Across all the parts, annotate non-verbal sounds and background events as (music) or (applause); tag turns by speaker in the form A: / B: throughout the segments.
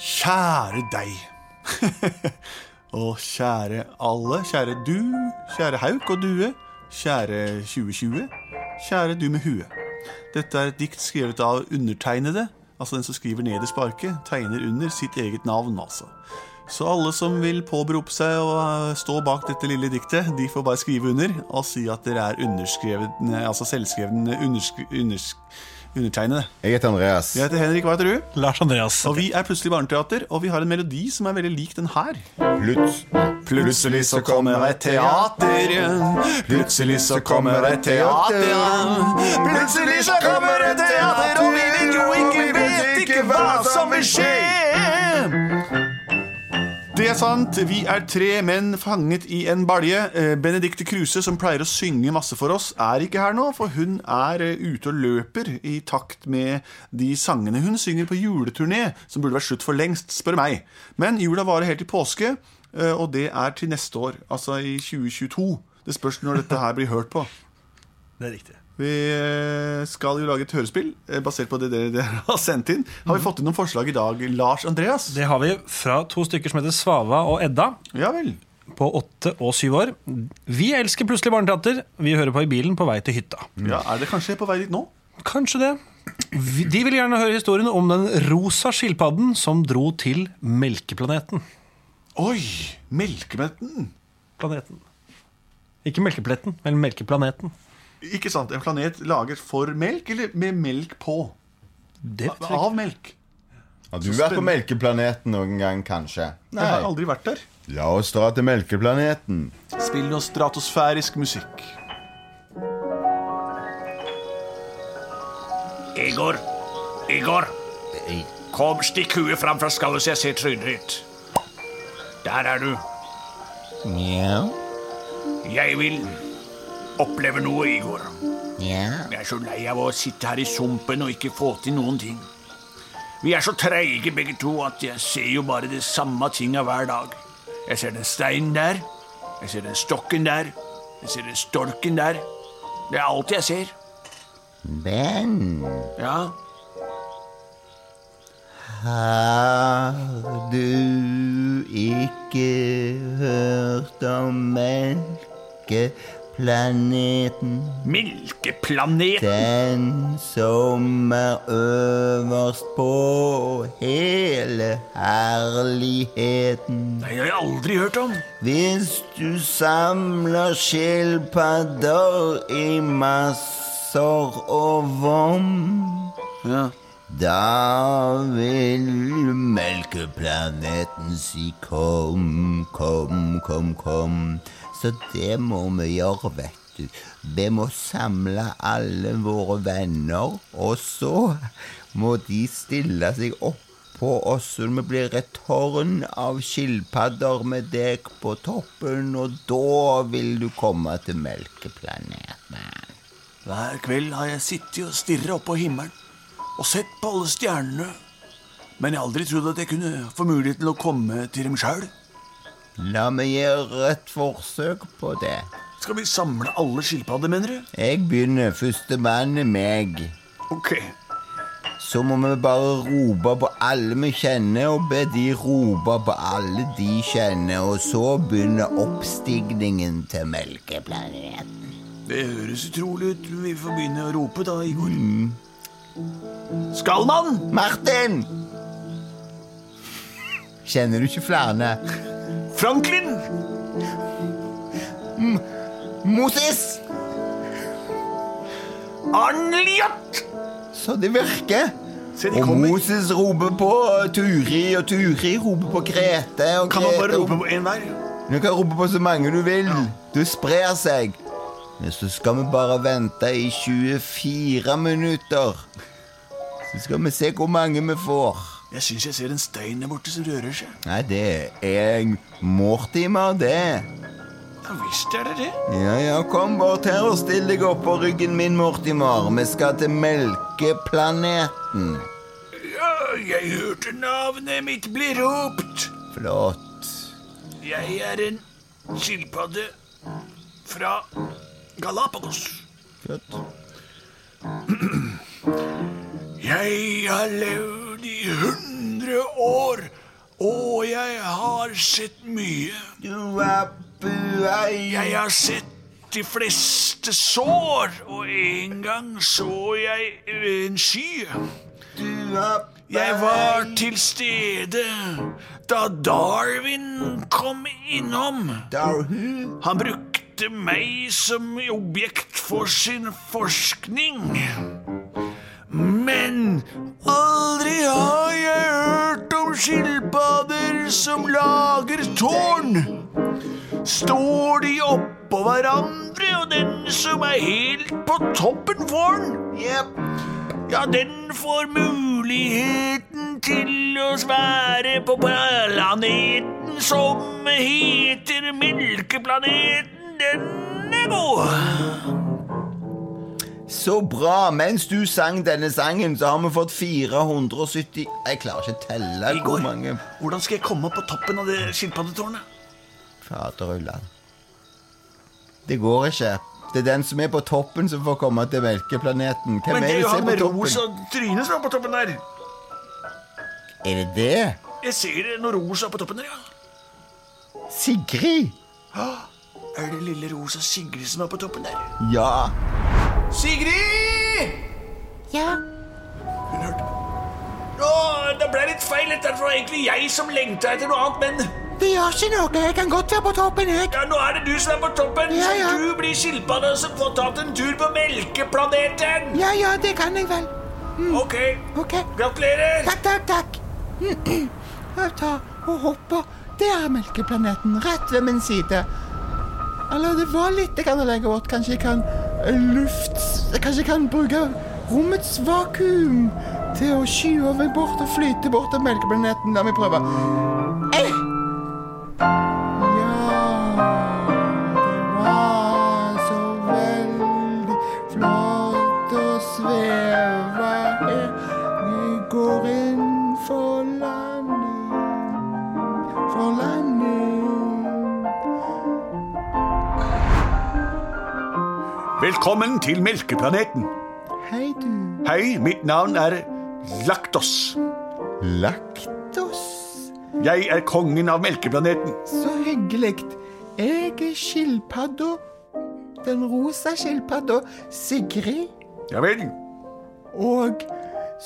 A: Kjære deg. (laughs) og kjære alle. Kjære du. Kjære hauk og due. Kjære 2020. Kjære du med hue. Dette er et dikt skrevet av undertegnede. Altså den som skriver nederst på arket, tegner under sitt eget navn, altså. Så alle som vil påberope seg å eh, stå bak dette lille diktet, de får bare skrive under og si at dere er underskrevne, altså selvskrevne underskri, undersk- undertegnede.
B: Jeg heter Andreas.
A: Jeg heter Henrik, hva heter du?
C: Lars Andreas.
A: Og vi er Plutselig barneteater, og vi har en melodi som er veldig lik den her.
B: Lutz.
A: Plutselig så kommer et teater. Plutselig så kommer et teater. Plutselig så kommer et teater, og vi vet jo ikke, vet ikke hva som vil skje. Det er sant. Vi er tre menn fanget i en balje. Eh, Benedicte Kruse, som pleier å synge masse for oss, er ikke her nå, for hun er eh, ute og løper i takt med de sangene hun synger på juleturné, som burde vært slutt for lengst, spør meg. Men jula varer helt til påske, eh, og det er til neste år, altså i 2022. Det spørs når dette her blir hørt på.
C: Det er riktig.
A: Vi eh, skal jo lage et hørespill eh, basert på det dere dere (laughs) har sendt inn. Har vi fått inn noen forslag i dag, Lars Andreas?
C: Det har vi fra to stykker som heter Svava og Edda,
A: Ja vel.
C: på åtte og syv år. Vi elsker plutselig barneteater. Vi hører på i bilen på vei til hytta.
A: Ja, er det kanskje på vei dit nå?
C: Kanskje det. Vi- De vil gjerne høre historien om den rosa skilpadden som dro til Melkeplaneten.
A: Oi! Melkemetten.
C: Planeten. Ikke Melkepletten, men Melkeplaneten.
A: Ikke sant? En planet laget for melk, eller med melk på?
C: Det vet jeg ikke.
A: Av melk.
B: Har du vært på Melkeplaneten noen gang, kanskje?
A: Jeg har aldri vært der.
B: La oss dra til Melkeplaneten.
A: Spill noe stratosfærisk musikk.
D: Igor, Igor. Kom, stikk huet fram fra skallet så jeg ser trynet ditt. Der er du.
E: Ja,
D: Jeg vil oppleve noe, Igor.
E: ja,
D: Jeg er så lei av å sitte her i sumpen og ikke få til noen ting. Vi er så treige begge to at jeg ser jo bare de samme tinga hver dag. Jeg ser den steinen der, jeg ser den stokken der, jeg ser den storken der. Det er alt jeg ser.
E: Ben,
D: Ja,
E: har du ikke hørt om melkeplaneten?
D: Milkeplanet!
E: Den som er øverst på hele herligheten.
D: Det har jeg aldri hørt om.
E: Hvis du samler skilpadder i masser og vom, da vil melkeplaneten si kom, kom, kom, kom. Så det må vi gjøre, vet du. Vi må samle alle våre venner, og så må de stille seg opp på oss så vi blir et tårn av skilpadder med deg på toppen, og da vil du komme til melkeplaneten.
D: Hver kveld har jeg sittet og stirret opp på himmelen og sett på alle stjernene. Men jeg har aldri trodd at jeg kunne få muligheten til å komme til dem sjøl.
E: La meg gjøre et forsøk på det.
D: Skal vi samle alle skilpadder, mener du?
E: Jeg begynner førstemann er meg.
D: Ok.
E: Så må vi bare rope på alle vi kjenner, og be de rope på alle de kjenner, og så begynner oppstigningen til melkeplaneten.
D: Det høres utrolig ut. men Vi får begynne å rope, da, Igor. Skal man?
E: Martin! Kjenner du ikke flere?
D: Franklin!
E: Moses!
D: Arnljot!
E: Så det virker.
D: Se, de
E: Og
D: kommer.
E: Moses roper på Turi, og Turi roper på Grete. Og
D: Kan man
E: Grete
D: bare rope på én hver?
E: Du kan rope på så mange du vil. Du sprer seg. Men så skal vi bare vente i 24 minutter. Så skal vi se hvor mange vi får.
D: Jeg syns jeg ser en stein der borte som rører seg.
E: Nei, det er Mortimer, det.
D: Ja visst er det det.
E: Ja, ja, kom bort her og still deg opp på ryggen min, Mortimer. Vi skal til Melkeplaneten.
D: Ja, jeg hørte navnet mitt bli ropt.
E: Flott.
D: Jeg er en skilpadde fra Galapagos.
E: Flott.
D: Jeg har levd i hundre år jeg har sett mye. Jeg
E: Jeg
D: har sett de fleste sår, og en gang så jeg en sky. Jeg var til stede da Darwin kom innom.
E: Darhu
D: Han brukte meg som objekt for sin forskning. Men aldri har jeg hørt om skilpadder som lager tårn. Står de oppå hverandre, og den som er helt på toppen, får den. Ja, den får muligheten til å svære på planeten som heter Melkeplaneten. Den er god.
E: Så bra. Mens du sang denne sangen, så har vi fått 470 Jeg klarer ikke å telle hvor
D: Igor,
E: mange
D: hvordan skal jeg komme opp på toppen av det skilpaddetårnet?
E: Faderullan. Det går ikke. Det er den som er på toppen, som får komme til melkeplaneten. Hvem
D: Men det
E: er
D: er
E: det
D: jo
E: som
D: han
E: er
D: med
E: på toppen?
D: rosa tryne som er på toppen der.
E: Er det det?
D: Jeg ser noe rosa på toppen der, ja.
E: Sigrid?
D: Er det lille rosa Sigrid som er på toppen der?
E: Ja.
D: Sigrid!
F: Ja,
D: Hun hørte Å, det ble litt feil. Dette var egentlig jeg som lengta etter noe annet, men
F: det gjør ikke noe. Jeg kan godt være på toppen, jeg.
D: Ja, Nå er det du som er på toppen.
F: Ja,
D: så
F: ja.
D: Du blir skilpadda som får tatt en tur på melkeplaneten.
F: Ja, ja, det kan jeg vel.
D: Ok,
F: Ok.
D: gratulerer.
F: Takk, takk, takk. (clears throat) Jeg tar og hopper. Det er melkeplaneten, rett ved min side. Eller det var litt jeg kan legge bort. Kanskje jeg kan eh, lufts... Kanskje jeg kan bruke rommets vakuum til å skyve meg bort og flyte bort til melkeplaneten. La meg prøve. Eh! Ja, det var så veldig flott å sveve her. Vi går inn for landing, for landing.
D: Velkommen til Melkeplaneten.
F: Hei, du.
D: Hei, mitt navn er Laktos.
F: Dos,
D: Jeg er kongen av Melkeplaneten.
F: så hyggelig. Jeg er skilpadda. Den rosa skilpadda Sigrid.
D: Ja vel.
F: Og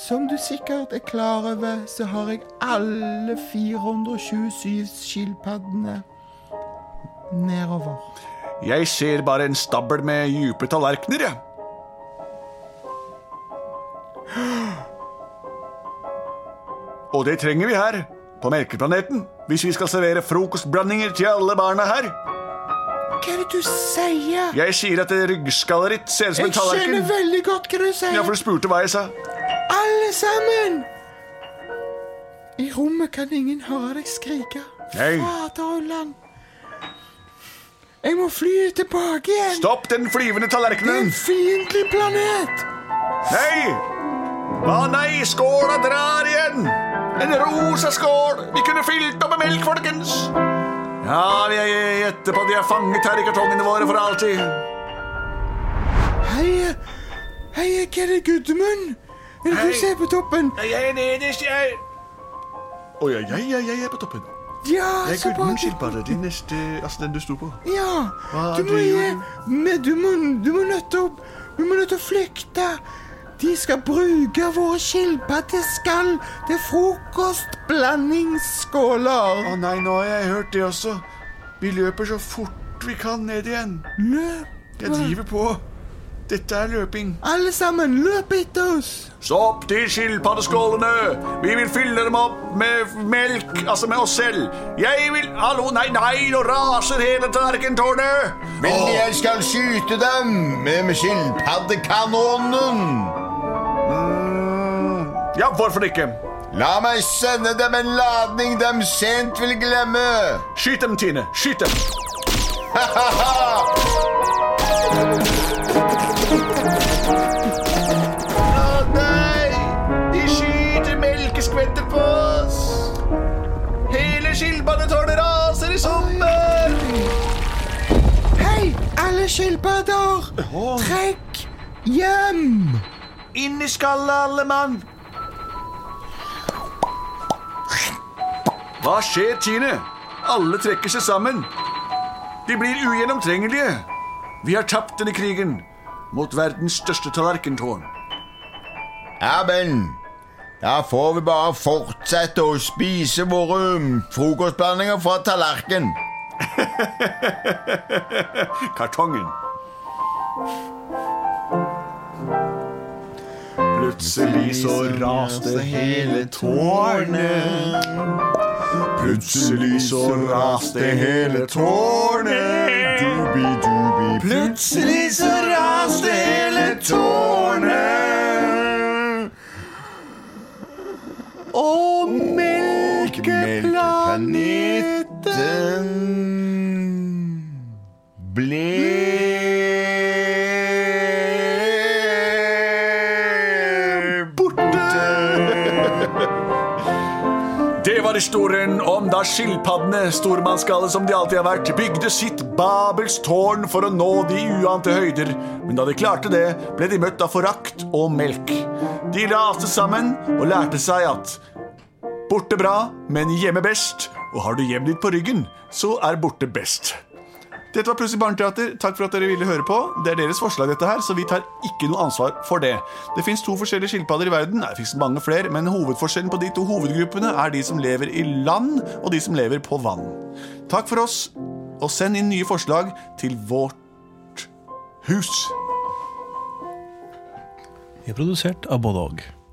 F: som du sikkert er klar over, så har jeg alle 427 skilpaddene nedover.
D: Jeg ser bare en stabel med dype tallerkener, jeg. Og det trenger vi her, på Melkeplaneten, hvis vi skal servere frokostblandinger til alle barna her.
F: Hva er det du sier?
D: Jeg sier at det ryggskallet ditt ser ut som
F: Jeg
D: en
F: skjønner
D: tallerken.
F: veldig godt hva du
D: Ja,
F: sier.
D: for du spurte hva jeg sa.
F: Alle sammen! I rommet kan ingen høre deg skrike.
D: Nei.
F: Faderullan. Jeg må fly tilbake igjen.
D: Stopp den flyvende
F: Det er
D: tallerkenen!
F: en fiendtlig planet.
D: Nei! Hva nei, skåla drar igjen! En rosa skål! Vi kunne fylt opp med melk, folkens! Ja, jeg gjetter på at de er fanget her i kartongene våre for alltid.
F: Hei, hei, hva er det, Gudmund? Vil
D: Hei.
F: du se på toppen?
D: Jeg er nederst, jeg. Å ja, jeg, jeg, jeg er på toppen.
F: Ja,
D: Jeg
F: så
D: er
F: bra.
D: Gudmund Skilpadde, din neste Altså den du sto på.
F: Ja,
D: Hva
F: du må
D: driver
F: gi
D: du
F: Men du må, du må nødt til å Du må nødt til å flykte. De skal bruke våre skilpaddeskall til frokostblandingsskåler.
D: Å nei, nå har jeg hørt det også. Vi løper så fort vi kan ned igjen.
F: Løp!
D: Jeg driver på. Dette er løping.
F: Alle sammen, løp etter oss!
D: Stopp de skilpaddeskålene! Vi vil fylle dem opp med melk, altså med oss selv. Jeg vil Hallo, nei, nei, nå raser hele tallerkentårnet!
B: Men jeg skal skyte dem med med skilpaddekanonen.
D: Ja, hvorfor ikke?
B: La meg sende dem en ladning dem sent vil glemme.
D: Skyt dem, Tine. Skyt dem. Å nei! De skyter melkeskvetter på oss! Hele skilpaddetårnet raser i sommer!
F: Hei, alle skilpadder! Trekk hjem!
D: Inn i skallet, alle mann!
A: Hva skjer, Tine? Alle trekker seg sammen. De blir ugjennomtrengelige. Vi har tapt denne krigen mot verdens største tallerkentårn.
B: Ja, men da får vi bare fortsette å spise våre um, frokostblandinger fra tallerken.
A: Kartongen. Plutselig så raste hele tårnet. Plutselig så raste hele tårnet. Dubi, dubi. Plutselig så raste hele tårnet. Og melkeplaneten
B: ble
A: Det var historien om da skilpaddene, stormannsgale som de alltid har vært, bygde sitt Babels tårn for å nå de uante høyder. Men da de klarte det, ble de møtt av forakt og melk. De raste sammen og lærte seg at borte bra, men hjemme best. Og har du hjemmet ditt på ryggen, så er borte best. Dette var Plutselig barneteater. Takk for at dere ville høre på. Det er deres forslag, dette her, så vi tar ikke noe ansvar for det. Det fins to forskjellige skilpadder i verden. Nei, Det fins mange flere, men hovedforskjellen på de to hovedgruppene er de som lever i land, og de som lever på vann. Takk for oss, og send inn nye forslag til vårt hus.
C: Vi er produsert av både og.